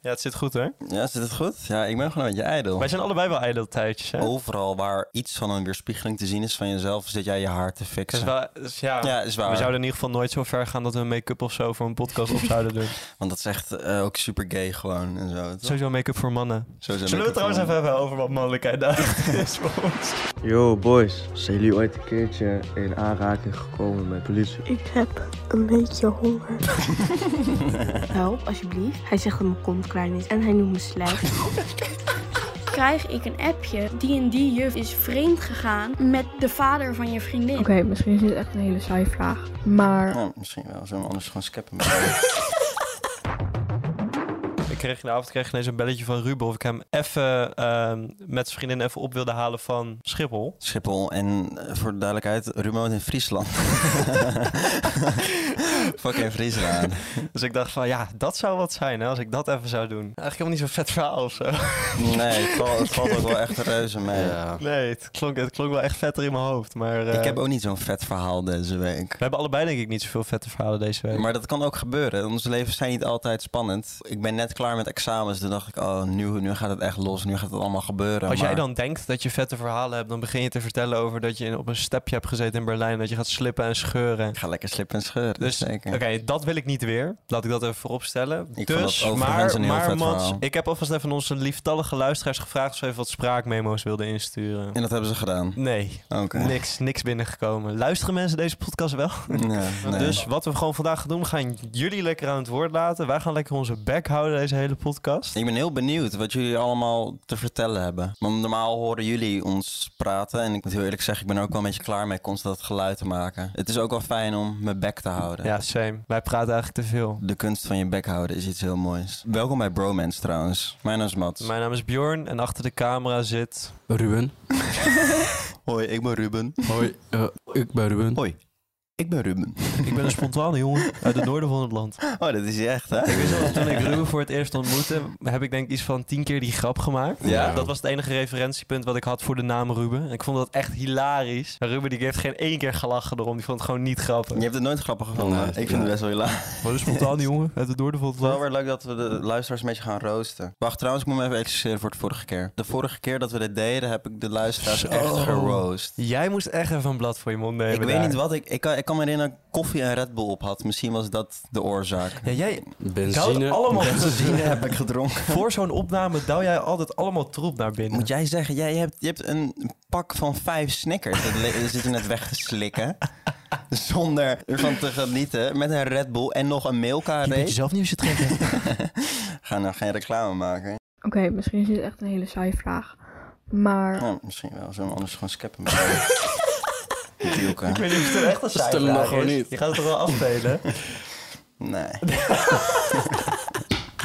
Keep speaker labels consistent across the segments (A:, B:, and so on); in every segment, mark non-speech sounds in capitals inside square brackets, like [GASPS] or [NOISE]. A: Ja, het zit goed hoor.
B: Ja, zit het goed? Ja, ik ben gewoon een beetje ijdel.
A: Wij zijn allebei wel ijdeltijdjes,
B: Oh.
A: hè?
B: Overal waar iets van een weerspiegeling te zien is van jezelf, zit jij je haar te
A: Dat
B: fixen.
A: is wel- dat is- ja.
B: Ja, is waar.
A: We zouden in ieder geval nooit zo ver gaan dat we make-up of zo voor een podcast op zouden
B: [LAUGHS]
A: doen.
B: Want dat is echt eh, ook super gay gewoon en zo. toch?
A: Sowieso make-up voor mannen.
B: Zo zijn
A: Zullen we het trouwens even hebben
B: microfoons.
A: over wat mannelijkheid
B: [LAUGHS]
A: daar is voor ons?
C: Yo boys, zijn jullie ooit een keertje in aanraking gekomen met politie?
D: Ik heb een beetje honger. [LAUGHS] Help, alsjeblieft. Hij zegt dat mijn kont klein is en hij noemt me slijp.
E: [LAUGHS]
F: krijg ik een appje. Die en die juf is vreemd gegaan met de vader van je vriendin.
E: Oké, misschien is dit echt een hele saaie vraag. Maar
B: Ja, misschien wel. Zullen we anders gewoon skeppen?
A: Ik kreeg in de avond kreeg ik ineens een belletje van Ruben of ik hem even ehm, met zijn vriendin even op wilde halen van Schiphol.
B: [LAUGHS] Schiphol en eh, voor de duidelijkheid, remote in Friesland. [LAUGHS] Fucking Friesland.
A: Dus ik dacht van ja, dat zou wat zijn hè, als ik dat even zou doen. Eigenlijk helemaal niet zo'n vet verhaal of zo.
B: Nee, het, val- het valt ook wel echt reuze mee.
A: Nee, het klonk, het klonk wel echt vetter in mijn hoofd. Maar eh,
B: Ik heb ook niet zo'n vet verhaal deze week.
A: we hebben allebei denk ik niet zoveel vette verhalen deze week.
B: Maar dat kan ook gebeuren. Onze levens zijn niet altijd spannend. Ik ben net klaar met examens. Toen dacht ik, oh, nu, nu gaat het echt los. Nu gaat het allemaal gebeuren.
A: Als jij
B: Nou, Maar-
A: dan denkt dat je vette verhalen hebt, dan begin je te vertellen over dat je in- op een stepje hebt gezeten in Berlijn. Dat je gaat slippen en scheuren.
B: Ik ga lekker slippen en scheuren.
A: Dus, oké,
B: zeker.
A: dat wil ik niet weer. Laat ik dat even voorop stellen.
B: Ik vond
A: dus,
B: dat overigens
A: maar,
B: een heel
A: maar
B: vet
A: Mats,
B: verhaal.
A: ik heb alvast even aan onze lieftallige luisteraars gevraagd of ze even wat spraakmemo's wilden insturen.
B: En dat hebben ze gedaan.
A: Nee,
B: Oké.
A: niks, niks binnengekomen. Luisteren mensen deze podcast wel?
B: Ja, nee.
A: [LAUGHS] Dus wat we gewoon vandaag gaan doen, we gaan jullie lekker aan het woord laten. Wij gaan lekker onze bek houden deze hele podcast.
B: Ik ben heel benieuwd wat jullie allemaal te vertellen hebben. Want normaal horen jullie ons praten. En ik moet heel eerlijk zeggen, ik ben er ook wel een beetje klaar mee constant dat geluid te maken. Het is ook wel fijn om mijn bek te houden.
A: Ja, same. Wij praten eigenlijk te veel.
B: De kunst van je bek houden is iets heel moois. Welkom bij Bromance trouwens. Mijn naam is Mats.
A: Mijn naam is Bjorn en achter de camera zit...
G: Ruben.
B: Hoi, ik ben Ruben.
G: Hoi, eh, ik ben Ruben.
B: Hoi. Ik ben Ruben.
A: Ik ben een spontane jongen uit het noorden van het land.
B: Oh, dat is hij echt, hè?
A: Ik wist wel, toen ik Ruben voor het eerst ontmoette, heb ik denk ik iets van tien keer die grap gemaakt.
B: Ja.
A: Dat was het enige referentiepunt wat ik had voor de naam Ruben. En ik vond dat echt hilarisch. Maar Ruben die heeft geen één keer gelachen erom. Die vond het gewoon niet grappig.
B: Je hebt het nooit grappig gevonden.
G: Nee.
B: ik vind het best wel laag.
A: Wat een spontane jongen uit het noorden van het
B: Het is wel weer leuk dat we de luisteraars een beetje gaan roosten. Wacht, trouwens, ik moet me even excuseren voor de vorige keer. De vorige keer dat we dit deden, heb ik de luisteraars
A: Zo.
B: echt geroost.
A: Jij moest echt even een blad voor je mond nemen
B: Ik weet
A: daar.
B: niet wat ik... Ik kan, ik kan me herinneren dat ik koffie en Red Bull op had. Misschien was dat de oorzaak.
A: Ja, jij,
G: Benzine.
A: Dat allemaal-
B: Benzine heb ik gedronken.
A: voor zo'n opname douw jij altijd allemaal troep naar binnen.
B: Moet jij zeggen, jij hebt, je hebt een pak van vijf Snickers. Dat le- dat zitten net weg te slikken. [LAUGHS] Zonder ervan te genieten. Met een Red Bull en nog een Milka race.
A: zelf niet eens trekken.
B: Ga nou geen reclame maken.
E: oké, misschien is dit echt een hele saaie vraag. Maar
B: Nou, misschien wel. Zullen we anders gewoon skeppen maken?
A: [LAUGHS]
B: Joeken.
A: ik weet niet of het een echte
G: Stel hem
A: zijvraag
G: nou gewoon
A: is.
G: niet.
A: Je gaat het toch wel afspelen?
B: Nee.
A: [LAUGHS]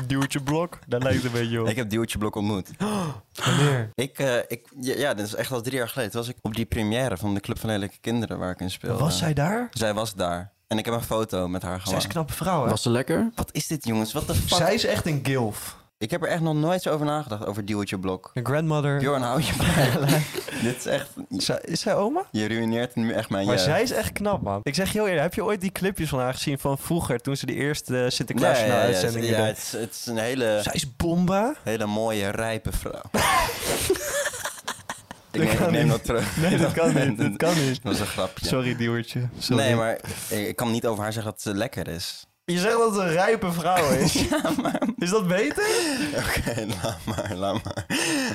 A: Duwtje blok. Dat lijkt een beetje op.
B: Ik heb Duwtje Blok ontmoet.
A: [GASPS] Wanneer?
B: Ik, eh, ik, ja, ja, dit is echt al drie jaar geleden. Toen was ik op die première van de Club van Lelijke Kinderen waar ik in speelde.
A: Was zij daar?
B: Zij was daar. En ik heb een foto met haar
A: Zij
B: gemaakt.
A: is een knappe vrouw, hè?
G: Was ze lekker?
B: Wat is dit, jongens? Wat de fuck?
A: Zij is echt een gilf.
B: Ik heb er echt nog nooit zo over nagedacht, over Duwtje Blok.
A: Een grandmother.
B: Bjorn, hou je
A: [LAUGHS]
B: bij. dit is echt...
A: Zij- is zij oma?
B: Je ruïneert nu echt mijn
A: Maar
B: jeugd.
A: zij is echt knap, man. Ik zeg je heel eerlijk, heb je ooit die clipjes van haar gezien van vroeger, toen ze die eerste
B: Ja, ja, ja, ja,
A: Sinterklaas-uitzending
B: ja,
A: deed?
B: het, is, het is een hele,
A: Zij is bomba.
B: hele mooie, rijpe
A: [LAUGHS]
B: vrouw. ik
A: Dat
B: neem,
A: kan
B: ik neem
A: niet.
B: dat terug.
A: Nee, dat kan
B: [LAUGHS]
A: niet, dat kan niet.
B: Dat was een grapje.
A: Sorry, Diewertje.
B: Nee, maar ik, ik kan niet over haar zeggen dat ze lekker is. [LAUGHS]
A: Je zegt dat het een rijpe vrouw is. Is dat beter?
B: Oké, laat maar, laat maar.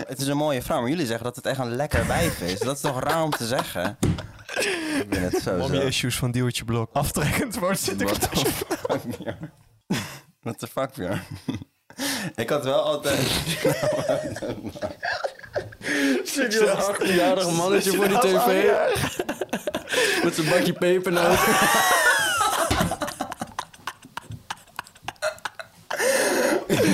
B: Het is een mooie vrouw, maar jullie zeggen dat het echt een lekker wijf is. Dat is toch raar om te zeggen? Ik ben het zo
A: Mommy
B: zo.
A: issues van Diewertje Blok. Aftrekkend wordt
B: What the
A: Sinterklaas.
B: fuck, [LAUGHS] Björn? What the fuck, Björn? Ik had wel altijd...
G: Zit je een 18-jarig mannetje voor die tv? [LAUGHS] Met zijn bakje pepernoot.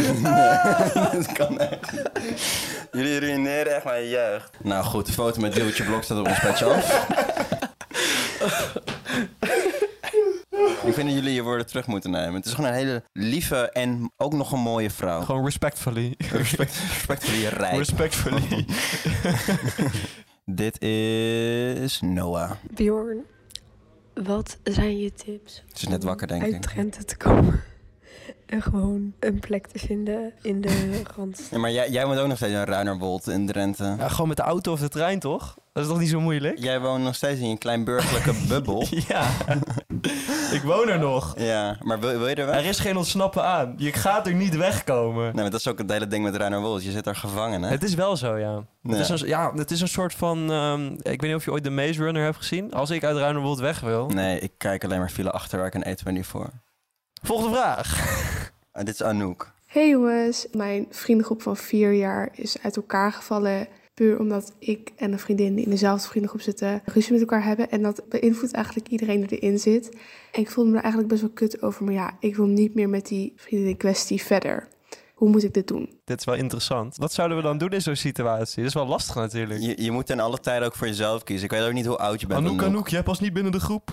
B: Het kan echt. niet. Jullie ruïneren echt mijn jeugd. Nou goed, de foto met Duwtje Blok staat op ons petje af. Ik vind dat jullie je woorden terug moeten nemen. Het is gewoon een hele lieve en ook nog een mooie vrouw.
A: Gewoon respectfully.
B: Respect, respect voor je rijk.
A: Respectfully.
B: Dit is Noah.
D: Bjorn, wat zijn je tips
B: Het is net wakker, denk
D: uit
B: ik.
D: Drenthe te komen?
H: [LAUGHS] En gewoon een plek te vinden in
B: [LAUGHS]
H: de rand.
B: Ja, maar jij, jij woont ook nog steeds in Ruinerwold in Drenthe.
A: Ja, gewoon met de auto of de trein, toch? Dat is toch niet zo moeilijk?
B: Jij woont nog steeds in een klein burgerlijke
A: [LAUGHS]
B: bubbel. [LAUGHS]
A: Ja. ik woon er nog.
B: Ja, maar wil, wil je er weg?
A: Er is geen ontsnappen aan. Je gaat er niet wegkomen.
B: [LAUGHS] Nee, maar dat is ook het hele ding met Ruinerwold. Je zit daar gevangen, hè?
A: Het is wel zo, ja.
B: Ja.
A: Het is een, ja, het is een soort van... ehm, ik weet niet of je ooit de Maze Runner hebt gezien. Als ik uit Ruinerwold weg wil...
B: Nee, ik kijk alleen maar file achterwerk en A24.
A: Volgende vraag. [LAUGHS]
B: Ah, dit is Anouk.
H: Hey jongens, mijn vriendengroep van vier jaar is uit elkaar gevallen. Puur omdat ik en een vriendin die in dezelfde vriendengroep zitten ruzie met elkaar hebben. En dat beïnvloedt eigenlijk iedereen die erin zit. En ik voelde me er eigenlijk best wel kut over. Maar ja, ik wil niet meer met die vriendin in kwestie verder. Hoe moet ik dit doen?
A: Dit is wel interessant. Wat zouden we dan doen in zo'n situatie? Dat is wel lastig natuurlijk.
B: Je, je moet ten alle tijden ook voor jezelf kiezen. Ik weet ook niet hoe oud je bent.
A: Anouk,
B: Anouk.
A: Anouk, jij past niet binnen de groep.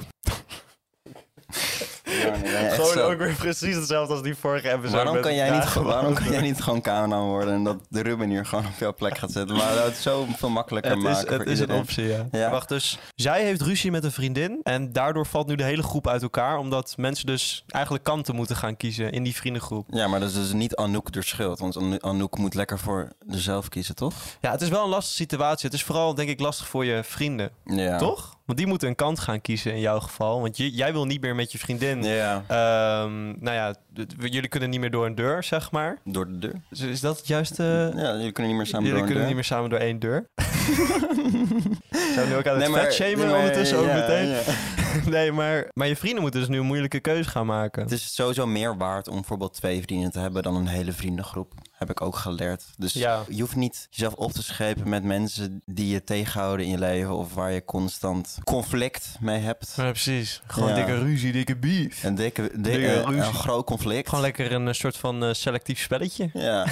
B: Ja, nee, nee, echt
A: Gewoon
B: zo.
A: ook weer precies hetzelfde als die vorige episode.
B: Waarom
A: met
B: kan, jij
A: vragen
B: niet, ge- waarom
A: beantwoorden.
B: kan jij niet gewoon cameraman worden en dat de Ruben hier gewoon op jouw plek gaat zitten? Maar dat het zo veel makkelijker
A: Het is,
B: maken
A: het
B: voor
A: is een
B: iedereen.
A: optie, ja.
B: Ja.
A: Wacht, dus zij heeft ruzie met een vriendin en daardoor valt nu de hele groep uit elkaar. Omdat mensen dus eigenlijk kanten moeten gaan kiezen in die vriendengroep.
B: Ja, maar dat is dus niet Anouk de schuld. Want Anu- Anouk moet lekker voor zichzelf kiezen, toch?
A: Ja, het is wel een lastige situatie. Het is vooral denk ik lastig voor je vrienden,
B: Ja.
A: toch? Want die moeten een kant gaan kiezen in jouw geval. Want j- jij wil niet meer met je vriendin...
B: Ja.
A: Ehm, nou ja, d- we- jullie kunnen niet meer door een deur, zeg maar.
B: Door de deur.
A: Dus is dat het juiste...
B: Ja, jullie kunnen niet meer samen
A: jullie
B: door
A: kunnen niet
B: een deur.
A: meer samen door één
B: [LAUGHS]
A: deur. Zijn we nu ook aan het
B: maar-
A: vetshamen
B: nee, maar-
A: ondertussen ook
B: ja,
A: meteen?
B: ja.
A: [LAUGHS] Nee, maar, maar je vrienden moeten dus nu een moeilijke keuze gaan maken.
B: Het is sowieso meer waard om bijvoorbeeld twee vrienden te hebben dan een hele vriendengroep. Heb ik ook geleerd. Dus
A: Ja.
B: je hoeft niet jezelf op te schepen met mensen die je tegenhouden in je leven of waar je constant conflict mee hebt.
A: Ja, precies. Gewoon
B: Ja.
A: dikke ruzie, dikke beef.
B: Een dikke,
A: Dikke
B: dikke
A: ruzie.
B: een groot conflict.
A: Gewoon lekker een eh, soort van eh, selectief spelletje. [LAUGHS]
B: Ja.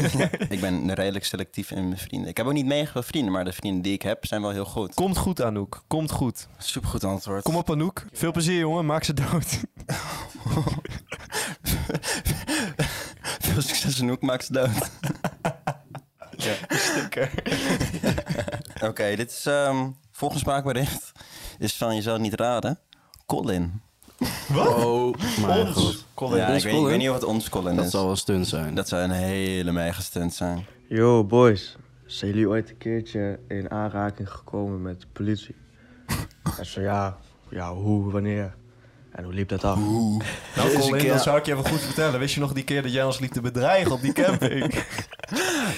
B: [LAUGHS] ik ben redelijk selectief in mijn vrienden. Ik heb ook niet mega veel vrienden, maar de vrienden die ik heb zijn wel heel goed.
A: Komt goed, Anouk. Komt goed.
B: Supergoed antwoord.
A: Kom op, Anouk. Veel plezier, jongen. Maak ze dood.
B: [LAUGHS] Veel succes en hoek maakt ze dood. ja, sticker. [LAUGHS] Oké, dit is ehm volgens spraakbericht is van je zou het niet raden. Colin.
G: Oh, maar goed.
A: Colin.
B: Ja, ik
G: Ons
B: weet, ik
G: Colin?
B: weet niet of het ons Colin
G: Dat
B: is.
G: zal wel stunt zijn.
B: Dat zou een hele mega stunt zijn.
C: Yo boys, zijn jullie ooit een keertje in aanraking gekomen met de politie? en zo ja, ja hoe, wanneer? En hoe liep dat af?
A: [LAUGHS] Nou,
B: Deze
A: Colin,
B: keer-
A: dan zou ik je even goed vertellen. Wist je nog die keer dat jij ons liep te bedreigen op die [LAUGHS] camping?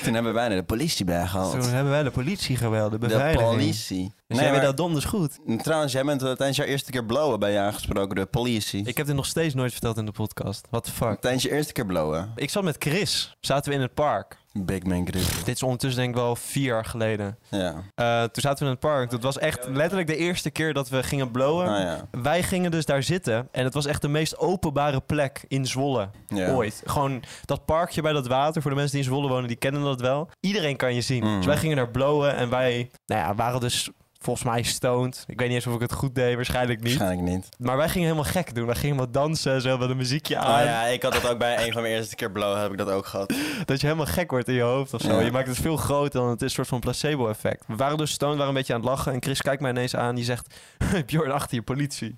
B: Toen hebben wij naar de politie bijgehaald.
A: Toen hebben wij de politie geweld, de
B: De
A: beveiliging.
B: politie.
A: Dus
B: nee,
A: jij weet
B: maar-
A: dat donders goed.
B: Trouwens, jij bent eh, tijdens jouw eerste keer blowen bij je aangesproken door de politie.
A: Ik heb dit nog steeds nooit verteld in de podcast. What the fuck.
B: Tijdens je eerste keer blowen.
A: Ik zat met Chris. Zaten we in het park.
B: Big Man Grip.
A: Dit is ondertussen denk ik wel vier jaar geleden.
B: Ja.
A: Eh, toen zaten we in het park. Dat was echt letterlijk de eerste keer dat we gingen blowen.
B: Ah, ja.
A: Wij gingen dus daar zitten en het was echt de meest openbare plek in Zwolle
B: Ja.
A: ooit. Gewoon dat parkje bij dat water, voor de mensen die in Zwolle wonen, die kennen dat wel. Iedereen kan je zien.
B: Mm.
A: Dus wij gingen daar blowen en wij nou ja, waren dus volgens mij stoned. Ik weet niet eens of ik het goed deed, waarschijnlijk niet.
B: Waarschijnlijk niet.
A: Maar wij gingen helemaal gek doen. Wij gingen wat dansen, en zo met een muziekje aan.
B: Ah ja, ik had dat ook bij een van mijn eerste keer blowen heb ik dat ook gehad.
A: Dat je helemaal gek wordt in je hoofd of zo.
B: Ja.
A: Je maakt het veel groter dan het is een soort van placebo-effect. We waren dus stoned, waren een beetje aan het lachen. En Chris kijkt mij ineens aan. Die zegt, [LAUGHS] Bjorn, achter je
B: [LAUGHS]
A: politie.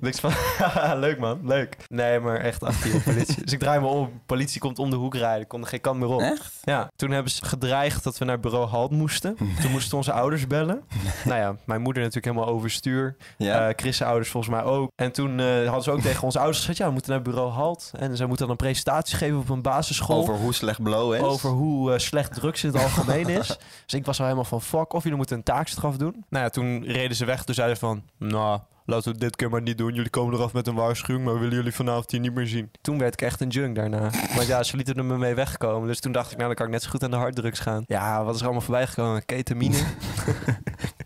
A: Niks van, [LAUGHS] "Haha, leuk man, leuk. Nee, maar echt achter je politie. dus ik draai me om. Politie komt om de hoek rijden. Ik kon er geen kant meer op.
B: Echt?
A: Ja, toen hebben ze gedreigd dat we naar bureau Halt moesten. Toen moesten onze ouders
B: [LAUGHS]
A: bellen. nou ja, mijn moeder natuurlijk helemaal overstuur.
B: Ja.
A: Eh, Chris' ouders volgens mij ook. En toen eh, hadden ze ook tegen onze ouders gezegd... ja, we moeten naar bureau Halt. En zij moeten dan een presentatie geven op een basisschool...
B: Over hoe slecht blowen is.
A: Over hoe eh, slecht drugs in het algemeen is. [LAUGHS] Dus ik was al helemaal van fuck. Of jullie moeten een taakstraf doen. Nou ja, toen reden ze weg. Toen zeiden ze van, nou, laten we dit keer maar niet doen. Jullie komen eraf met een waarschuwing, maar we willen jullie vanavond hier niet meer zien. Toen werd ik echt een junk daarna. Want ja, ze lieten er me mee wegkomen. Dus toen dacht ik, nou, dan kan ik net zo goed aan de harddrugs gaan. Ja, wat is er allemaal voorbij gekomen? Ketamine,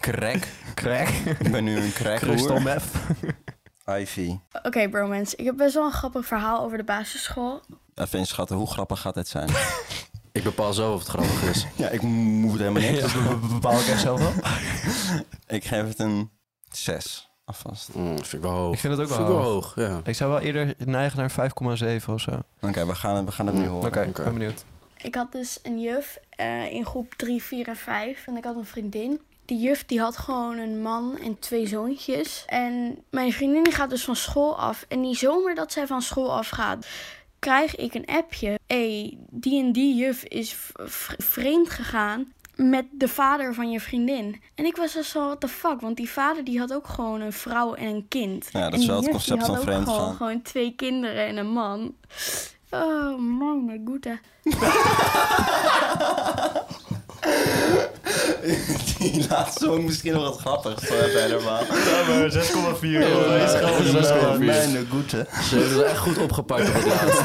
B: crack.
A: [LAUGHS] crack,
B: ik
A: [LAUGHS]
B: ben nu een
A: crystal
B: crackhoer.
A: meth.
B: Ivy.
F: Oké, bromance. Ik heb best wel een grappig verhaal over de basisschool.
B: Even inschatten, hoe grappig gaat dit zijn?
G: Ik bepaal zelf of het grappig is.
B: ja, ik moet helemaal niks.
A: Dat bepaal ik echt zelf wel.
B: Ik geef het een 6. Alvast.
G: Mm, vind ik wel hoog.
A: Ik vind het ook
G: Vind
A: wel
G: ik
A: hoog.
G: hoog, ja.
A: Ik zou wel eerder neigen naar 5,7 of zo. Oké,
B: Oké, we, gaan, we gaan het nu horen.
G: Oké.
A: ben benieuwd.
F: Ik had dus een juf eh, in groep 3, 4 en 5. En ik had een vriendin. Die juf die had gewoon een man en twee zoontjes. En mijn vriendin die gaat dus van school af. En die zomer dat zij van school afgaat, krijg ik een appje. hey, die en die juf is v- v- vreemd gegaan met de vader van je vriendin. En ik was dus zo, what the fuck? Want die vader die had ook gewoon een vrouw en een kind.
B: Ja, dat is
F: En die
B: wel het
F: juf,
B: concept
F: die had
B: van
F: ook
B: vreemd
F: gewoon,
B: gaan.
F: gewoon twee kinderen en een man. Oh, man, mijn goede.
B: Die laatste vond ik misschien nog wat grappig. Zo even helemaal.
A: Ja, maar 6,4.
G: dat is gewoon
B: Ja,
G: zes
B: maar
G: keer vier.
B: Mijn goede.
G: Ze hebben het echt goed opgepakt op het laatst.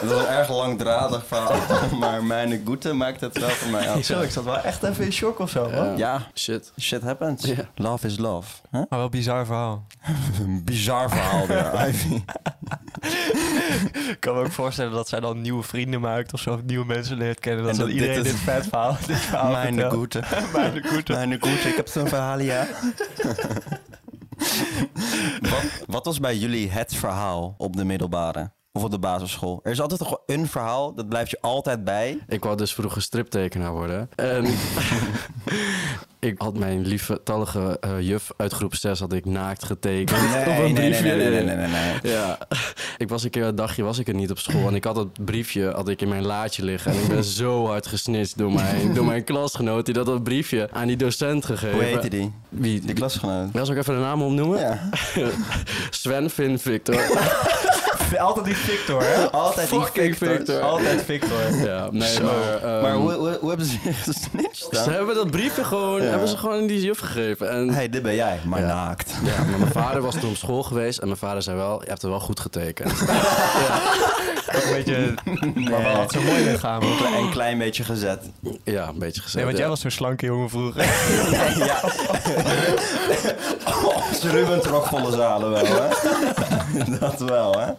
B: Het was een erg langdradig verhaal. [LAUGHS] Maar mijn goede maakt het wel voor mij af.
A: Zo, ik zat wel echt even in shock of zo, man.
B: Ja,
G: [LAUGHS] Shit.
B: shit happens.
G: Ja.
B: Love is love.
A: Maar wel bizar verhaal.
B: Een bizar verhaal [LAUGHS] weer, Ivy.
A: Ik kan me ook voorstellen dat zij dan nieuwe vrienden maakt of zo, of nieuwe mensen leert kennen. Dat,
B: En
A: ze
B: dat
A: dan iedereen
B: dit
A: dit,
B: is-
A: vet [LAUGHS] verhaal, dit verhaal
B: Mijn
A: vertelt.
B: goede.
A: Mijn goede.
B: [LAUGHS] Mijn goede, ik heb zo'n verhaal, ja. [LAUGHS] wat, wat was bij jullie het verhaal op de middelbare? Of op de basisschool? Er is altijd toch wel een verhaal, dat blijft je altijd bij.
G: Ik wou dus vroeger striptekenaar worden. [LAUGHS] En ik had mijn lieve tallige eh, juf uit groep 6 had ik naakt getekend op een briefje.
B: [LAUGHS]
G: Ja, [LAUGHS] ik was een keer een dagje was ik er niet op school en ik had dat briefje had ik in mijn laadje liggen en ik ben zo hard gesnitst door mijn, door
B: [LAUGHS]
G: mijn klasgenoot die dat dat briefje aan die docent gegeven.
B: Hoe heette die?
G: Wie?
B: Die klasgenoot.
G: Ja, zal ik even de naam opnoemen?
B: Ja.
G: Sven, Finn,
B: [LAUGHS]
G: Victor.
A: Altijd die Victor, hè?
B: Altijd die
G: Fucking
B: Victor.
G: Victor.
A: Altijd Victor.
G: Eh, ja, nee,
B: Zo.
G: maar... ehm,
B: Maar hoe, hoe, hoe hebben ze je gesnitcht
G: ze
B: dan?
G: hebben dat briefje gewoon,
B: Ja.
G: hebben ze gewoon aan die juf gegeven. En
B: hey, dit ben jij, maar
G: Ja.
B: naakt.
G: Ja, maar mijn vader was toen op school geweest en mijn vader zei wel, je hebt het wel goed getekend.
A: Ook een beetje... Maar wel had zo'n mooi lichaam.
B: Een klein, een klein beetje gezet. [LAUGHS]
G: Ja, een beetje gezegd.
A: Nee, want
G: ja.
A: jij was zo'n slanke jongen vroeger.
B: ja. [LAUGHS] Onze Ruben trok volle zalen wel, hè? [LAUGHS] dat wel, hè?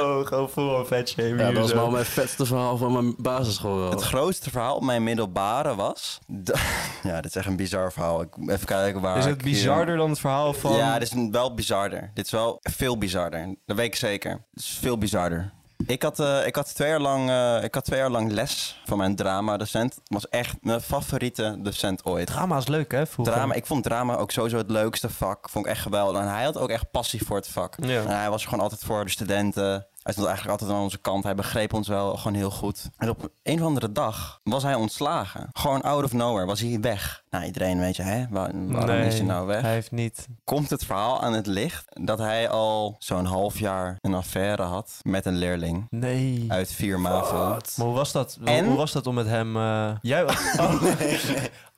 A: Oh, gewoon vol een vet shame
G: Ja, dat was
A: eh,
G: wel mijn vetste verhaal van mijn basisschool wel.
B: Het grootste verhaal op mijn middelbare was... d- [LAUGHS] Ja, dit is echt een bizar verhaal. Ik, even kijken waar
A: Is het
B: ik hier-
A: bizarder dan het verhaal van...
B: Ja, dit is een- wel bizarder. Dit is wel veel bizarder. Dat weet ik zeker. Het is veel bizarder. Ik had, eh, ik, had twee jaar lang, eh, ik had twee jaar lang les van mijn drama-docent. was echt mijn favoriete docent ooit.
A: Drama is leuk, hè? Vroeger.
B: Drama, ik vond drama ook sowieso het leukste vak. Vond ik echt geweldig. En hij had ook echt passie voor het vak.
A: Ja.
B: En hij was er gewoon altijd voor de studenten. Hij stond eigenlijk altijd aan onze kant. Hij begreep ons wel gewoon heel goed. En op een of andere dag was hij ontslagen. Gewoon out of nowhere was hij weg. Nou, iedereen weet je, hè? Waar- waarom
A: Nee,
B: is hij nou weg?
A: Hij heeft niet...
B: Komt het verhaal aan het licht dat hij al zo'n half jaar een affaire had met een leerling
A: Nee.
B: uit 4 MAVO. [LAUGHS]
A: Maar hoe was dat? Hoe-
B: En?
A: Hoe was dat om met hem... eh, Jij... Oh,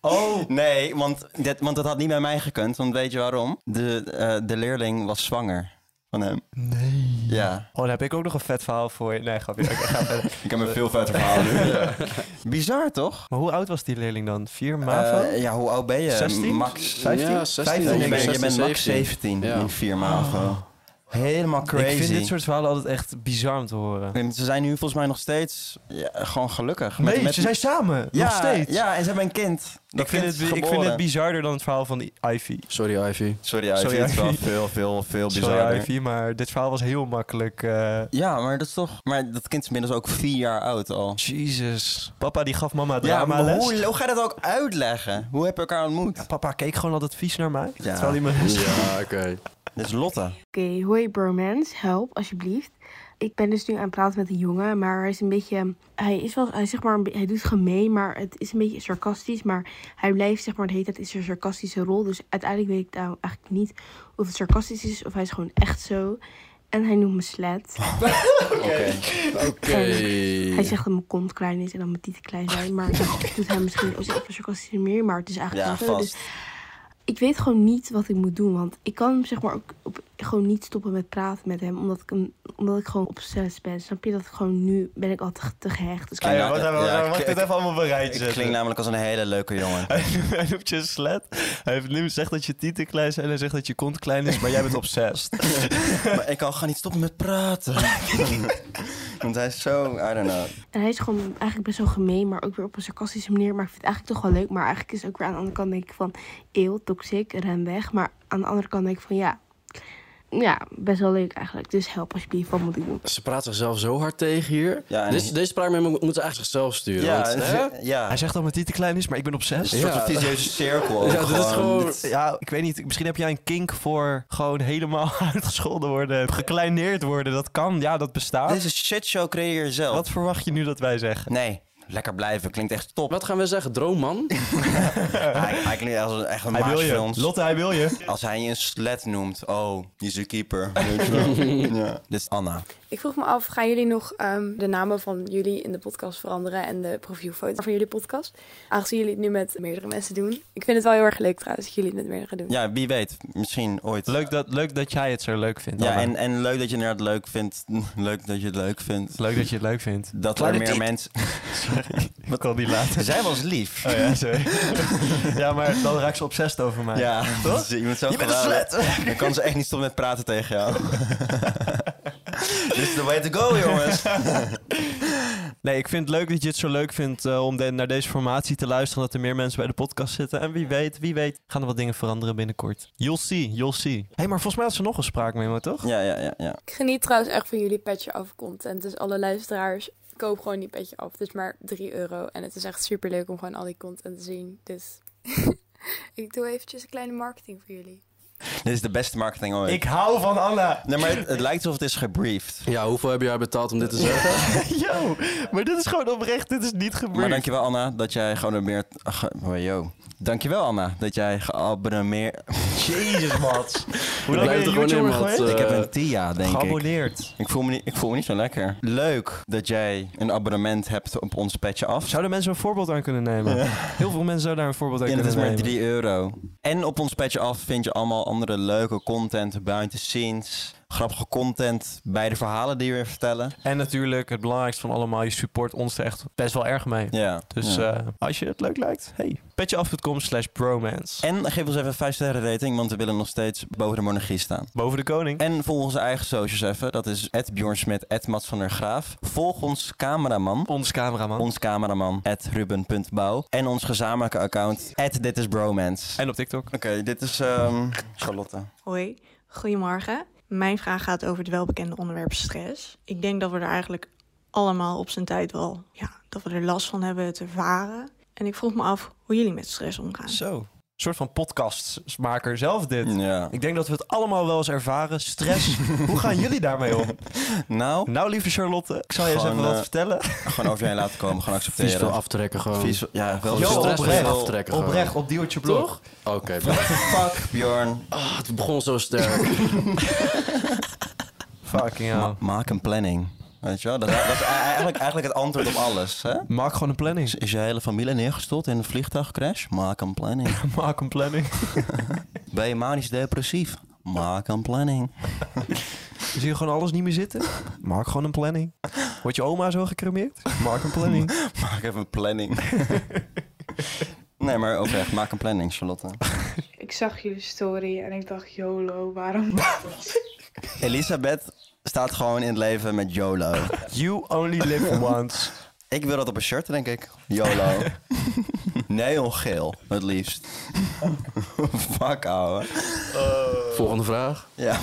A: oh.
B: Nee, want, dit, want dat had niet bij mij gekund. Want weet je waarom? De, eh, de leerling was zwanger van hem.
A: Nee.
B: Ja.
A: Oh, daar heb ik ook nog een vet verhaal voor je. Nee, grapje. Oké, ga verder. [LAUGHS]
B: Ik heb een veel vetter [LAUGHS] verhaal nu. Bizar, toch?
A: Maar hoe oud was die leerling dan? Vier [LAUGHS] MAVO?
B: Eh, ja, hoe oud ben je?
A: 16?
B: Max
G: 15? Ja, 16.
B: Ja, je,
G: Ik
B: bent, je
G: 16,
B: bent max 17
G: Ja.
B: in 4 MAVO. Helemaal crazy.
A: Oh. Ik vind dit soort verhalen altijd echt bizar om te horen.
B: En Ze zijn nu volgens mij nog steeds ja, gewoon gelukkig. Met-
A: Nee,
B: met-
A: ze zijn samen.
B: ja,
A: nog steeds.
B: Ja, en ze hebben een kind. Dat
A: ik, vind
B: kind
A: het,
B: is
A: ik vind
B: geboren.
A: het bizarder dan het verhaal van I- Ivy.
G: Sorry
A: [LAUGHS]
G: Ivy.
B: Sorry, ja, ik
A: Sorry,
B: vind het wel
A: Ivy.
B: veel, veel, veel
A: Sorry
B: bizarder.
A: Ivy, maar dit verhaal was heel makkelijk. eh
B: Ja, maar dat is toch... Maar dat kind is inmiddels ook vier jaar oud al.
A: Jezus. Papa die gaf mama
B: Ja,
A: drama
B: maar
A: les.
B: hoe, hoe ga je dat ook uitleggen? Hoe heb je elkaar ontmoet?
A: Papa keek gewoon altijd vies naar mij.
B: Ja.
A: Terwijl hij [LAUGHS] me...
G: Ja, oké.
B: Dit is Lotte.
D: Oké, hoi bromance, help alsjeblieft. Ik ben dus nu aan het praten met een jongen, maar hij is een beetje... Hij is wel, hij, is zeg maar, een be- hij doet gemeen, maar het is een beetje sarcastisch. Maar hij blijft zeg maar de hele tijd in zijn sarcastische rol. Dus uiteindelijk weet ik nou eigenlijk niet of het sarcastisch is of hij is gewoon echt zo. En hij noemt me slet.
B: Oké.
G: Oké.
D: Hij zegt dat mijn kont klein is en dat mijn tieten klein zijn. Maar
B: [LAUGHS]
D: dat doet hij misschien ook op een sarcastische manier, maar het is eigenlijk [LAUGHS]
B: Ja,
D: wel zo. Dus
B: vast.
D: ik weet gewoon niet wat ik moet doen. Want ik kan hem zeg maar ook op, gewoon niet stoppen met praten met hem. Omdat ik, hem, omdat ik gewoon obsessief ben. Snap je dat ik gewoon nu ben ik al te, te gehecht. Dus ik-
B: Ah, ja, wat- wat- wat- wat-
A: dit even allemaal bereid
B: Ik klink namelijk als een hele leuke jongen.
A: [LAUGHS] Hij noemt je een slet. Hij heeft nu zegt dat je tieten klein zijn en hij zegt dat je kont klein is, maar jij bent obsessed.
B: maar ik kan gewoon niet stoppen met praten. [LAUGHS] Want hij is zo... I don't know.
D: En hij is gewoon eigenlijk best wel gemeen, maar ook weer op een sarcastische manier. Maar ik vind het eigenlijk toch wel leuk. Maar eigenlijk is het ook weer aan de andere kant denk ik van... Eeuw, toxic, ren weg. Maar aan de andere kant denk ik van ja... ja, best wel leuk eigenlijk. Dus help alsjeblieft, wat moet ik doen?
G: Ze praat zichzelf zo hard tegen hier.
B: Ja, en-
G: deze, deze spraak moeten we eigenlijk zichzelf sturen.
B: Ja,
G: want,
B: en
G: hè?
B: ze- ja.
A: Hij zegt dat mijn tiet te klein is, maar ik ben op zes.
B: Een soort
G: Ja.
B: van visieuze cirkel.
G: Ja, dit is gewoon-
B: dit-
A: Ja, ik weet niet. Misschien heb jij een kink voor gewoon helemaal [LAUGHS] uitgescholden worden. Gekleineerd worden. Dat kan. Ja, dat bestaat.
B: Deze shitshow creëer je jezelf.
A: Wat verwacht je nu dat wij zeggen?
B: Nee, lekker blijven. Klinkt echt top.
G: Wat gaan we zeggen? Droomman?
B: [LAUGHS] Hij, hij klinkt als een, echt een
A: Hij wil
B: maas voor
A: je.
B: ons.
A: Lotte, hij wil je.
B: Als hij je een slet noemt. Oh, die is
A: [LAUGHS]
B: de keeper. Weet je wel. [LAUGHS] ja. Dit is Anna.
I: Ik vroeg me af, gaan jullie nog ehm, de namen van jullie in de podcast veranderen en de profielfoto van jullie podcast? Aangezien jullie het nu met meerdere mensen doen. Ik vind het wel heel erg leuk trouwens dat jullie het met meerdere doen.
B: Ja, wie weet. Misschien ooit.
A: Leuk dat, leuk dat jij het zo leuk vindt.
B: Ja,
A: Anna.
B: en, en leuk dat je inderdaad leuk vindt. [LAUGHS] Leuk dat je het leuk vindt.
A: Leuk dat je het leuk vindt.
B: Dat
A: Kleine
B: er meer
A: tiet.
B: mensen...
A: [LAUGHS] Wat kan die laten?
B: Zij was lief.
A: Oh ja, [LAUGHS] sorry. ja, maar dan raakt ze obsessed over mij.
B: [LAUGHS] Ja,
A: [LAUGHS] Toch?
B: Dus Je bent zo
A: Je bent een
B: geweldig. [LAUGHS] Dan kan ze echt niet stoppen met praten tegen jou. [LAUGHS] This is the way to go,
A: [LAUGHS]
B: jongens.
A: Nee, ik vind het leuk dat je het zo leuk vindt eh, om de- naar deze formatie te luisteren. Dat er meer mensen bij de podcast zitten. En wie weet, wie weet, gaan er wat dingen veranderen binnenkort. You'll see, you'll see. Hé, hey, maar volgens mij had ze nog een spraakmemo, toch?
B: Ja, ja, ja, ja.
I: Ik geniet trouwens echt van jullie petje af content. Dus alle luisteraars, koop gewoon die petje af. Het is maar 3 euro en het is echt super leuk om gewoon al die content te zien. Dus [LAUGHS] ik doe eventjes een kleine marketing voor jullie.
B: Dit is de beste marketing ooit.
A: Ik hou van Anna.
B: Nee, maar het, het lijkt alsof het is gebriefd.
G: [LAUGHS] Ja, hoeveel heb jij betaald om dit te zeggen?
A: [LAUGHS] Yo, maar dit is gewoon oprecht. Dit is niet gebeurd.
B: Maar dankjewel Anna dat jij gewoon meer... Ach, oh, yo. Dankjewel Anna dat jij geabonneerd... [LAUGHS]
A: Jezus, Mats. Hoe lang
G: Blijf
A: ben
G: er
A: je
G: gewoon in,
A: YouTuber
G: Mats,
A: geweest?
G: eh.
B: ik heb een TIA, denk ik.
A: Geabonneerd.
B: Ik voel, me niet, ik voel me niet zo lekker. Leuk dat jij een abonnement hebt op ons petje af.
A: Zouden mensen een voorbeeld aan kunnen nemen? Heel veel mensen zouden daar een voorbeeld aan
B: En het
A: kunnen
B: is maar
A: nemen.
B: 3 euro. En op ons petje af vind je allemaal andere leuke content, behind the scenes, grappige content bij de verhalen die we weer vertellen.
A: En natuurlijk, het belangrijkste van allemaal, je support ons er echt best wel erg mee.
B: Ja.
A: Dus
B: ja.
A: eh, als je het leuk lijkt, hey, petjeaf.com slash bromance.
B: En geef ons even een 5 sterren rating, want we willen nog steeds boven de monarchie staan.
A: Boven de koning.
B: En volg onze eigen socials even. Dat is Bjorn Smit, Mats van der Graaf. Volg ons cameraman.
A: ons cameraman.
B: Ons cameraman, ruben.bouw. En ons gezamenlijke account, dit is bromance.
A: En op TikTok.
B: Oké, dit is ehm, Charlotte.
J: Hoi, goedemorgen. Mijn vraag gaat over het welbekende onderwerp stress. Ik denk dat we er eigenlijk allemaal op zijn tijd wel, ja, dat we er last van hebben het ervaren. En ik vroeg me af hoe jullie met stress omgaan.
A: Zo. Een soort van podcastmaker zelf dit.
B: Ja.
A: Ik denk dat we het allemaal wel eens ervaren.
B: [LAUGHS]
A: Stress. Hoe gaan jullie daarmee om?
B: Nou,
A: Nou, lieve Charlotte, ik zal je eens
B: Gewoon,
A: even wat
B: eh,
A: vertellen.
B: gewoon over je heen laten komen, gewoon accepteren.
G: Vies veel aftrekken gewoon.
B: Vies, ja, wel
G: Yo,
A: Yo,
G: stress
A: oprecht.
G: van aftrekken gewoon.
A: Oprecht, op Duwtje Blog.
G: Oké, [LAUGHS] maar-
B: Fuck, Bjorn.
G: Ah, het begon zo sterk.
A: Fucking
G: Nou.
A: hell.
B: Maak een planning. Weet je wel? Dat, is- dat is e- eigenlijk, eigenlijk het antwoord op alles. Hè?
A: Maak gewoon een planning.
B: [LAUGHS] Is, is je hele familie neergestort in een vliegtuigcrash? Maak een planning.
A: Maak een planning.
B: Ben je manisch depressief? Maak een planning.
A: Zie je gewoon alles niet meer [LAUGHS] zitten? Maak gewoon een planning. Wordt je oma zo gecremeerd? Maak een planning.
B: [LAUGHS] Maak even een planning. nee, maar oprecht, maak een planning, Charlotte.
E: Ik zag jullie story en ik dacht, YOLO, waarom? [LAUGHS]
B: Elisabeth staat gewoon in het leven met YOLO.
A: [LAUGHS] You only live once.
B: Ik wil dat op een shirt, denk ik. YOLO. Neongeel, het liefst. [LAUGHS] Fuck, ouwe.
G: [LAUGHS] Volgende vraag.
B: Ja,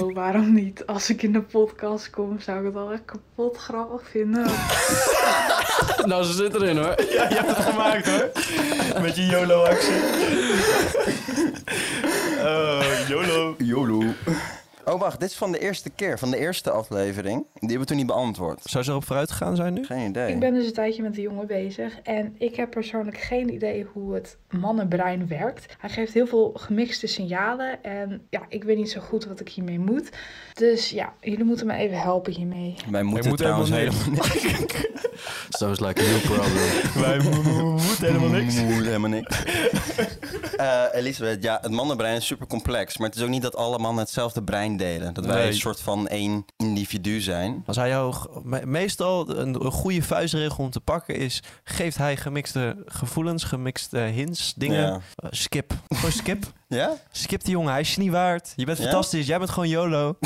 E: Oh, waarom niet? Als ik in de podcast kom, zou ik het al echt kapot grappig vinden.
G: [LAUGHS] Nou, ze zit erin hoor.
A: Je hebt het gemaakt hoor. Met je YOLO-actie. YOLO.
B: YOLO. Oh, wacht. Dit is van de eerste keer, van de eerste aflevering. Die hebben we toen niet beantwoord.
A: Zou ze erop vooruit gegaan zijn nu?
B: Geen idee.
E: Ik ben dus een tijdje met de jongen bezig en ik heb persoonlijk geen idee hoe het mannenbrein werkt. Hij geeft heel veel gemixte signalen en ja, ik weet niet zo goed wat ik hiermee moet. Dus ja, jullie moeten me even helpen hiermee.
B: Wij moeten
A: moet
B: trouwens
A: helemaal
B: helemaal niks.
G: Sounds like a new problem.
A: [LAUGHS] Wij moeten helemaal
B: Moe, helemaal niks. [LAUGHS] Eh, Elisabeth, ja, het mannenbrein is super complex. Maar het is ook niet dat alle mannen hetzelfde brein delen. Dat wij
A: Nee.
B: een soort van één individu zijn.
A: Als hij jou... g- me- Meestal een, een goede vuistregel om te pakken is... Geeft hij gemixte gevoelens, gemixte hints, dingen.
B: Ja.
A: Eh, skip. Gewoon skip.
B: ja?
A: Skip die jongen, hij is je niet waard. Je bent
B: Ja?
A: fantastisch, jij bent gewoon [LAUGHS] YOLO.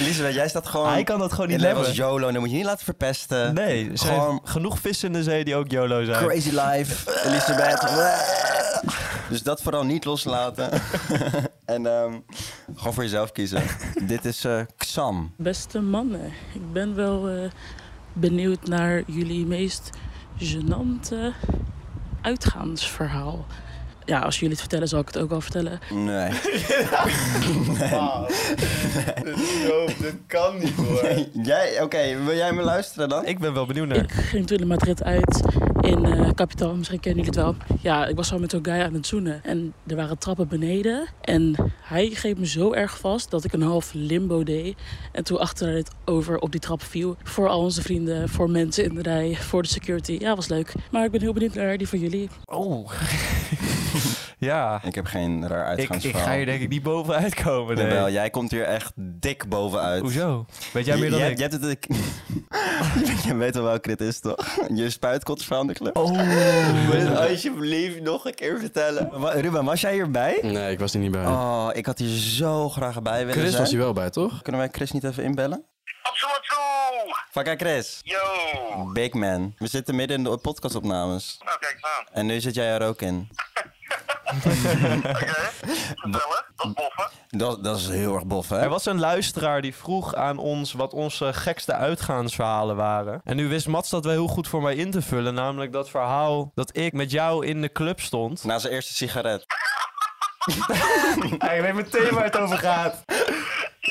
B: Elisabeth, jij staat gewoon...
A: hij kan dat gewoon niet
B: in level
A: hebben.
B: als YOLO. Dan moet je niet laten verpesten.
A: Nee, er zijn
B: Gewoon-
A: genoeg vissen in de zee die ook YOLO zijn.
B: Crazy life, Elisabeth. dus dat vooral niet loslaten. [LAUGHS] en ehm, Gewoon voor
A: [LAUGHS]
B: jezelf kiezen. Dit is eh, Xam.
K: Beste mannen, ik ben wel eh, benieuwd naar jullie meest genante uitgaansverhaal. Ja, als jullie het vertellen, zal ik het ook wel vertellen.
B: Nee. [LAUGHS]
A: Wauw. dat kan niet hoor.
B: Nee, jij, oké, wil jij me luisteren dan?
A: Ik ben wel benieuwd naar.
K: Ik ging natuurlijk Madrid uit in eh Capital, misschien kennen jullie het wel. Ja, ik was al met zo'n guy aan het zoenen en er waren trappen beneden. En hij greep me zo erg vast dat ik een half limbo deed. En toen achteruit over op die trap viel. Voor al onze vrienden, voor mensen in de rij, voor de security. Ja, was leuk. Maar ik ben heel benieuwd naar die van jullie.
A: [LAUGHS] Oh. ja.
B: Ik heb geen raar
A: Ik, ik
B: uitgangsverhaal.
A: ga hier denk ik niet bovenuit komen. nee.
B: Jawel, jij komt hier echt dik bovenuit.
A: Hoezo? Weet jij meer dan
B: jij,
A: ik?
B: jij hebt het, [LAUGHS] jij weet wel welke dit is, toch? Je spuitkotsverhaal in de [LAUGHS] club?
A: Oh.
B: Wil je het alsjeblieft nog een keer vertellen. Wa- Ruben, was jij hierbij?
G: Nee, ik was er niet bij.
B: Oh, ik had hier zo graag bij willen
G: Chris
B: zijn.
G: was hier wel bij, toch?
B: Kunnen wij Chris niet even inbellen? Fakka Chris. Yo. Big man. We zitten midden in de podcastopnames.
L: Nou, kijk eens aan.
B: En nu zit jij er ook in.
L: Vertellen, dat boffen.
B: Dat, dat is heel erg bof, hè?
A: Er was een luisteraar die vroeg aan ons wat onze gekste uitgaansverhalen waren. En nu wist Mats dat wel heel goed voor mij in te vullen. Namelijk dat verhaal dat ik met jou in de club stond.
B: Na zijn eerste sigaret.
A: Hij weet meteen waar het over gaat.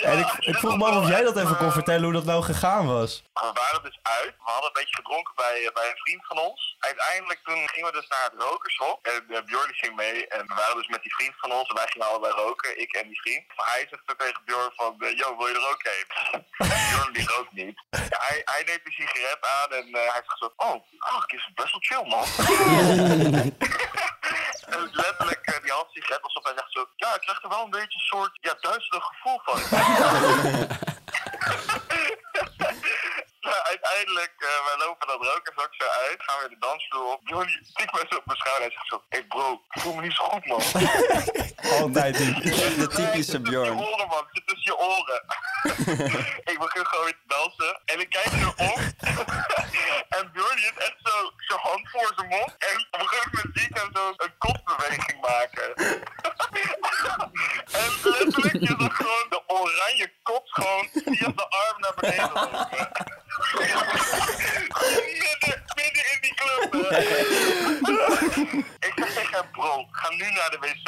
A: En ik, ik vroeg me af of jij dat even kon vertellen hoe dat nou gegaan was.
L: Maar we waren dus uit. We hadden een beetje gedronken bij, eh, bij een vriend van ons. Uiteindelijk toen gingen we dus naar het rokershok. En eh, Bjorn die ging mee. En we waren dus met die vriend van ons. En wij gingen allebei roken. Ik en die vriend. Maar hij zegt toen tegen Bjorn van... eh, Yo, wil je er ook heen? [LAUGHS] Bjorn die rookt niet. Ja, hij, hij neemt een sigaret aan. En eh, hij zegt zo... Oh, eigenlijk is het best wel chill, man. [LAUGHS] En dus letterlijk, eh, die hand sigaret alsof hij zegt zo... Ja, ik krijg er wel een beetje een soort... Ja, duizelig gevoel van. Nou, [LAUGHS] uiteindelijk, eh, wij lopen dat rokerzak zo uit, gaan weer de dansvloer op. Johnny tikt mij zo op mijn schouder en zegt zo, hé hey bro, ik voel me niet zo goed man.
B: Altijd die. [LAUGHS] De
L: Nee,
B: typische
L: Zit tussen je
B: Bjorn.
L: oren man, zit tussen je oren. [LAUGHS] ik begin gewoon weer te dansen en ik kijk zo om. [LAUGHS] en Bjorn heeft echt zo zijn hand voor zijn mond en op een gegeven moment zie ik hem zo een kotbeweging maken. [LAUGHS] en letterlijk is dat gewoon de oranje kop gewoon via de arm naar beneden lopen. [LAUGHS] midden, midden in die club. hè. ik zeg tegen hem, bro, ga nu naar de wc.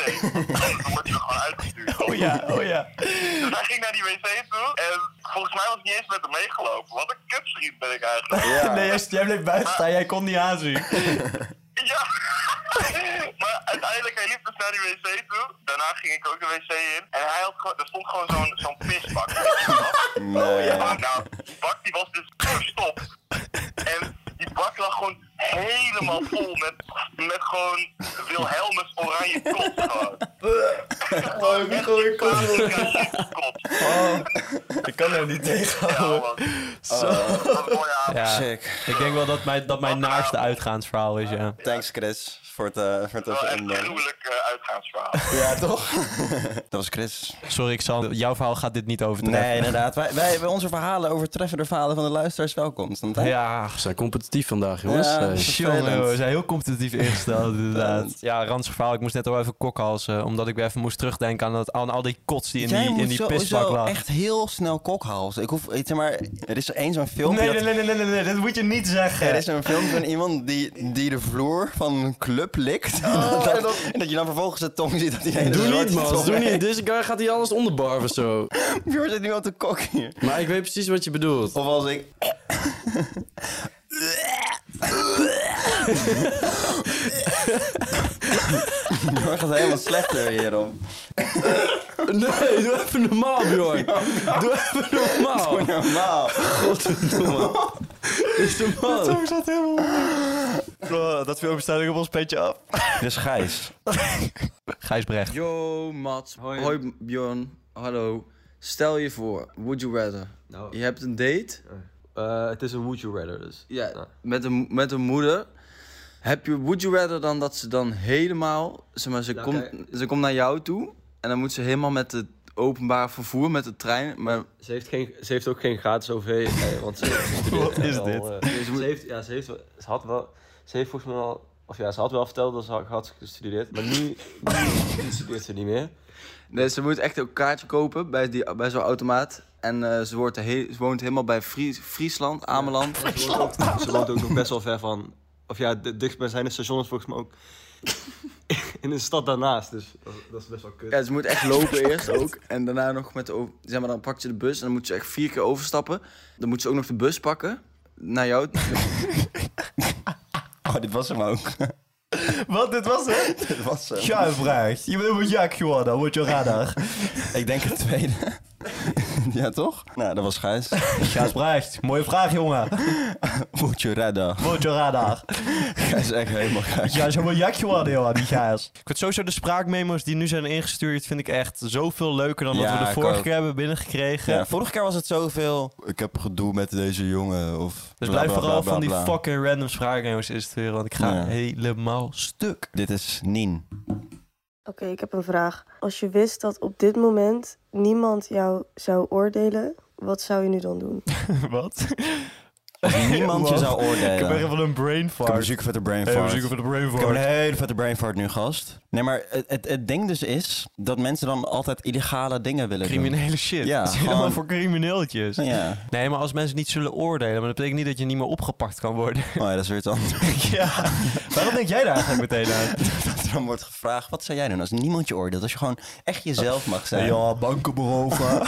L: [LAUGHS] Dan word je er gewoon uitgestuurd.
A: Oh ja, oh ja.
L: [LAUGHS] Dus hij ging naar die wc toe en volgens mij was ik niet eens met hem meegelopen. Wat een kutvriend ben ik eigenlijk.
B: Ja.
A: Nee, jij, jij bleef buiten staan, jij kon niet aanzien.
L: [LAUGHS] Ja. [LAUGHS] maar uiteindelijk, hij liep dus naar die wc toe. Daarna ging ik ook de wc in. En hij had gewoon, er stond gewoon zo'n zo'n pisbak. weet je
A: [LAUGHS]
L: wel.
B: Nee.
L: Maar nou, die bak die was dus verstopt. En die bak lag gewoon helemaal vol met, met gewoon Wilhelmus oranje kot. gewoon.
A: [LAUGHS] Oh, ik
L: Kot.
A: Ik kan hem niet
L: Ja,
A: tegenhouden. [LAUGHS]
L: man. Wat een mooie avond.
A: Ja,
B: Sick.
A: ik denk wel dat mijn, dat mijn naarste uitgaansverhaal is, ja.
B: Thanks Chris voor het, eh, voor het even
L: Wel Oh, echt een
B: inbellen.
L: gruwelijk eh, uitgaansverhaal.
B: Ja, toch? [LAUGHS] dat was Chris.
A: Sorry, ik zal, jouw verhaal gaat dit niet
B: Nee,
A: overtreffen.
B: inderdaad. Wij, wij, wij- onze verhalen overtreffen de verhalen van de luisteraars wel constant. Hè?
A: Ja,
G: We zijn competitief vandaag, jongens.
B: Ja.
G: Hey.
A: Jongen, we zijn heel competitief [LAUGHS] ingesteld, inderdaad.
B: Vervelend.
A: Ja, ranzig verhaal. Ik moest net al even kokhalzen, omdat ik weer even moest terugdenken aan, dat, aan al die kots die in
B: Jij
A: die, in
B: moet
A: die
B: sowieso
A: pisbak lag.
B: echt heel snel kokhalzen. Ik hoef, weet je maar, er is één zo'n filmpje.
A: Nee,
B: dat-
A: nee, nee, nee, nee, nee, dat moet je niet zeggen.
B: Er is een film van iemand die, die de vloer van een club likt. [LAUGHS] dat, en dat je dan vervolgens de tong ziet dat hij een
G: [LAUGHS] Oh, Doe
B: zwarte
G: niet, man.
B: tong
G: Doe
B: heeft. [LAUGHS]
G: [LAUGHS] niet. Deze guy gaat hier alles onderbarven of zo.
B: Björn zit nu al te kok hier.
G: Maar ik weet precies wat je bedoelt.
B: Of als ik... Björn gaat helemaal slechter hierom.
G: [LAUGHS] Nee, doe even normaal, Bjorn. [LAUGHS] Doe even normaal.
B: Normaal.
G: Oh. Godverdomme. Is de man.
A: zat helemaal Dat filmpje staat ook op ons petje [LAUGHS] af.
B: Dus Gijs.
A: Gijs Brecht.
M: Yo, Mats. Hoi. Bjorn. Hallo. Stel je voor, would you rather? Je hebt een date.
C: Nou. Eh, het is een would you rather dus.
M: Ja, met, een, met een moeder. Heb je, would you rather dan dat ze dan helemaal... Zeg maar, ze,
C: Nou,
M: komt,
C: kijk.
M: ze komt naar jou toe. En dan moet ze helemaal met het openbaar vervoer, met de trein... Maar
C: Ze heeft, geen, ze heeft ook geen gratis OV, eh, want ze, ze studeert
A: [LAUGHS] Wat is
C: al,
A: dit?
C: eh, ze, heeft, ja, ze, heeft, wel- ze had wel, ze heeft volgens mij
N: [LAUGHS]
C: al, of ja, ze had wel verteld dat ze had, had gestudeerd, maar nu, nu studeert ze niet meer.
M: Nee, ze moet echt een kaartje kopen bij, die- bij zo'n automaat. En eh, ze, wordt he- ze woont helemaal bij Fries- Friesland, Ameland.
N: Ze woont ook nog best wel ver van. Of ja, de dichtstbijzijnde station is volgens mij ook. [LAUGHS] in een stad daarnaast. Dus dat, dat is best wel kut.
M: Ja, ze moet echt lopen eerst ook. En daarna nog met de over- Zeg maar, dan pakt ze de bus en dan moet ze echt vier keer overstappen. Dan moet ze ook nog de bus pakken. Naar
G: [LAUGHS]
M: jou.
B: Oh, dit was hem ook. [LAUGHS]
A: Wat, dit was het?
B: dit was hem.
A: Ja, vraag. Je bent een Jack geworden, word je radar.
B: Ik denk het tweede. [LAUGHS] ja, toch? Nou, dat was [LAUGHS] Gijs.
A: Gijs Brecht, mooie vraag, jongen.
B: Word je radar.
A: Word je radar.
B: Gijs is echt helemaal gek.
A: Ja, zo wel jak geworden, joh, die Gijs. Ik vind sowieso de spraakmemo's die nu zijn ingestuurd, vind ik echt zoveel leuker dan
B: Ja,
A: wat we de
B: ik
A: vorige
B: ook.
A: keer hebben binnengekregen.
B: Ja, vorige keer was het zoveel. Ik heb gedoe met deze jongen. Of
A: dus
B: bla,
A: blijf
B: bla,
A: vooral
B: bla,
A: van
B: bla,
A: die
B: bla.
A: fucking random spraakmemo's insturen, want ik ga
B: Ja.
A: helemaal stuk.
B: Dit is Nien.
O: Oké, ik heb een vraag. Als je wist dat op dit moment niemand jou zou oordelen, wat zou je nu dan doen?
A: [LAUGHS] Wat?
B: Als niemand je
A: Wow.
B: zou oordelen.
A: Ik heb echt wel een brain
B: Ik
A: fart.
B: heb een zieke vette brain
A: Even
B: fart.
A: zieke vette brain
B: Ik heb een
A: fart.
B: hele vette brain fart nu, gast. Nee, maar het, het, het ding dus is dat mensen dan altijd illegale dingen willen doen.
A: Criminele shit.
B: Ja,
A: [LAUGHS] dat is helemaal
B: gewoon-
A: voor crimineeltjes.
B: Ja.
A: Nee, maar als mensen niet zullen oordelen, maar dat betekent niet dat je niet meer opgepakt kan worden.
B: Oh ja, dat is weer het antwoord.
A: ja. Waarom denk jij daar eigenlijk meteen aan?
B: [LAUGHS] Dat er dan wordt gevraagd, wat zou jij doen als niemand je oordeelt? Als je gewoon echt jezelf mag zijn.
A: Oh. Ja, banken beroven.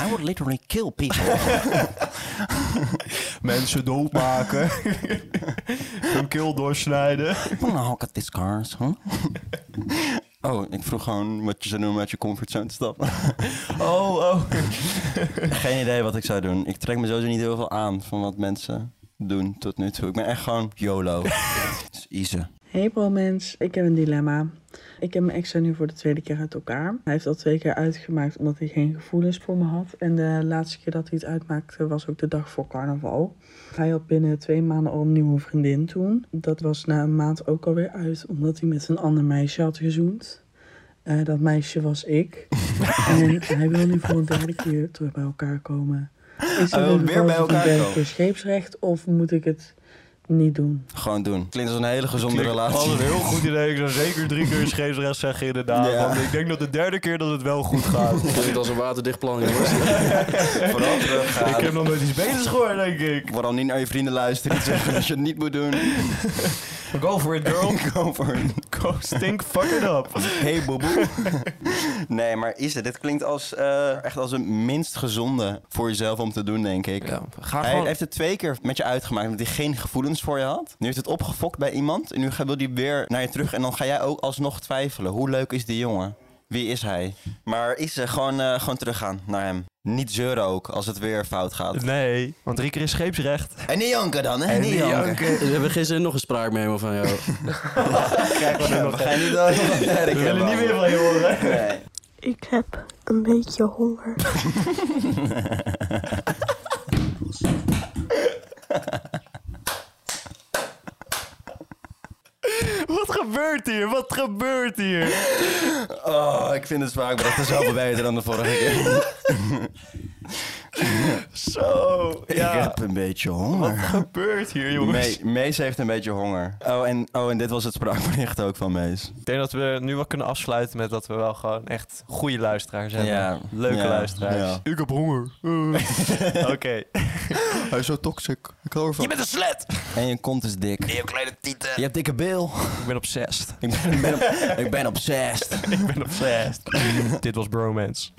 B: I would literally kill [LAUGHS] people.
A: Mensen
B: [LAUGHS]
A: doodmaken. Hun keel doorsnijden.
B: Nou, ik had dit cars, huh? [LAUGHS] Oh, ik vroeg gewoon wat je zou doen om uit je comfortzone te stappen.
A: Oh, oh.
B: [LAUGHS] Geen idee wat ik zou doen. Ik trek me sowieso niet heel veel aan van wat mensen doen tot nu toe. Ik ben echt gewoon [LAUGHS] YOLO. Het is easy.
P: Hey bromens, ik heb een dilemma. Ik heb mijn ex nu voor de tweede keer uit elkaar. Hij heeft al twee keer uitgemaakt omdat hij geen gevoelens voor me had. En de laatste keer dat hij het uitmaakte was ook de dag voor carnaval. Hij had binnen twee maanden al een nieuwe vriendin toen. Dat was na een maand ook alweer uit omdat hij met een ander meisje had gezoend. Eh, dat meisje was
B: [LAUGHS]
P: ik. en hij wil nu voor een derde keer terug bij elkaar komen. Is
B: Hij
P: dat
B: wil
P: een
B: Oh, weer
P: geval
B: bij
P: van
B: elkaar
P: derde
B: komen.
P: keer scheepsrecht of moet ik het niet doen?
B: Gewoon doen. Klinkt als een hele gezonde
A: Klinkt
B: relatie.
A: Al een heel goed idee. Ik zou zeker drie keer scheepsrecht zeggen inderdaad.
B: Ja.
A: Want ik denk dat de derde keer dat het wel goed gaat.
G: Klinkt als een waterdicht plan, jongens.
B: [LAUGHS] Vooral teruggaan.
A: Ik heb nog nooit iets beters gehoord, denk ik.
B: Vooral niet naar je vrienden luisteren. Niet [LAUGHS] zeggen dat je het niet moet doen.
A: Go for it, girl.
B: [LAUGHS] Go for it.
A: Go stink fuck it up.
B: [LAUGHS] Hey, boeboe. nee, maar Isa, dit klinkt als, eh, echt als een minst gezonde voor jezelf om te doen, denk ik.
A: ga
B: hij
A: gewoon-
B: heeft het twee keer met je uitgemaakt omdat hij geen gevoelens voor je had. Nu heeft het opgefokt bij iemand en nu ga- wil hij weer naar je terug. En dan ga jij ook alsnog twijfelen. Hoe leuk is die jongen? Wie is hij? Maar Isa, gewoon, eh, gewoon teruggaan naar hem. Niet zeuren ook als het weer fout gaat.
A: Nee, want drie keer is scheepsrecht.
B: En niet janken dan, hè? niet janken.
G: We hebben geen zin in nog een spraakmemo van jou.
B: Kijk, we, we gaan niet door.
A: [LAUGHS] We willen niet meer van je horen.
B: Nee.
O: Ik heb een beetje honger.
A: [LAUGHS] Wat gebeurt hier? Wat gebeurt hier?
B: Oh, ik vind het spraakbericht er zoveel beter dan de vorige keer.
A: Zo.
B: [LAUGHS] Ik
A: Ja.
B: heb een beetje honger.
A: Wat gebeurt hier, jongens?
B: Me- Mees heeft een beetje honger. Oh en, oh, en dit was het spraakbericht ook van Mees.
A: Ik denk dat we nu wel kunnen afsluiten met dat we wel gewoon echt goede luisteraars hebben.
B: Ja.
A: Leuke
B: Ja.
A: luisteraars.
B: Ja.
A: Ik heb honger. [LAUGHS] Oké.
B: Hij is zo toxic. Ik hou ervan.
A: Je bent een slet!
B: En je kont is dik.
A: Je kleine tieten.
B: Je hebt dikke bil.
A: Ik ben obsessed.
B: Ik ben, ik ben, op, ik ben obsessed.
A: ik ben obsessed. Dit was Bromance.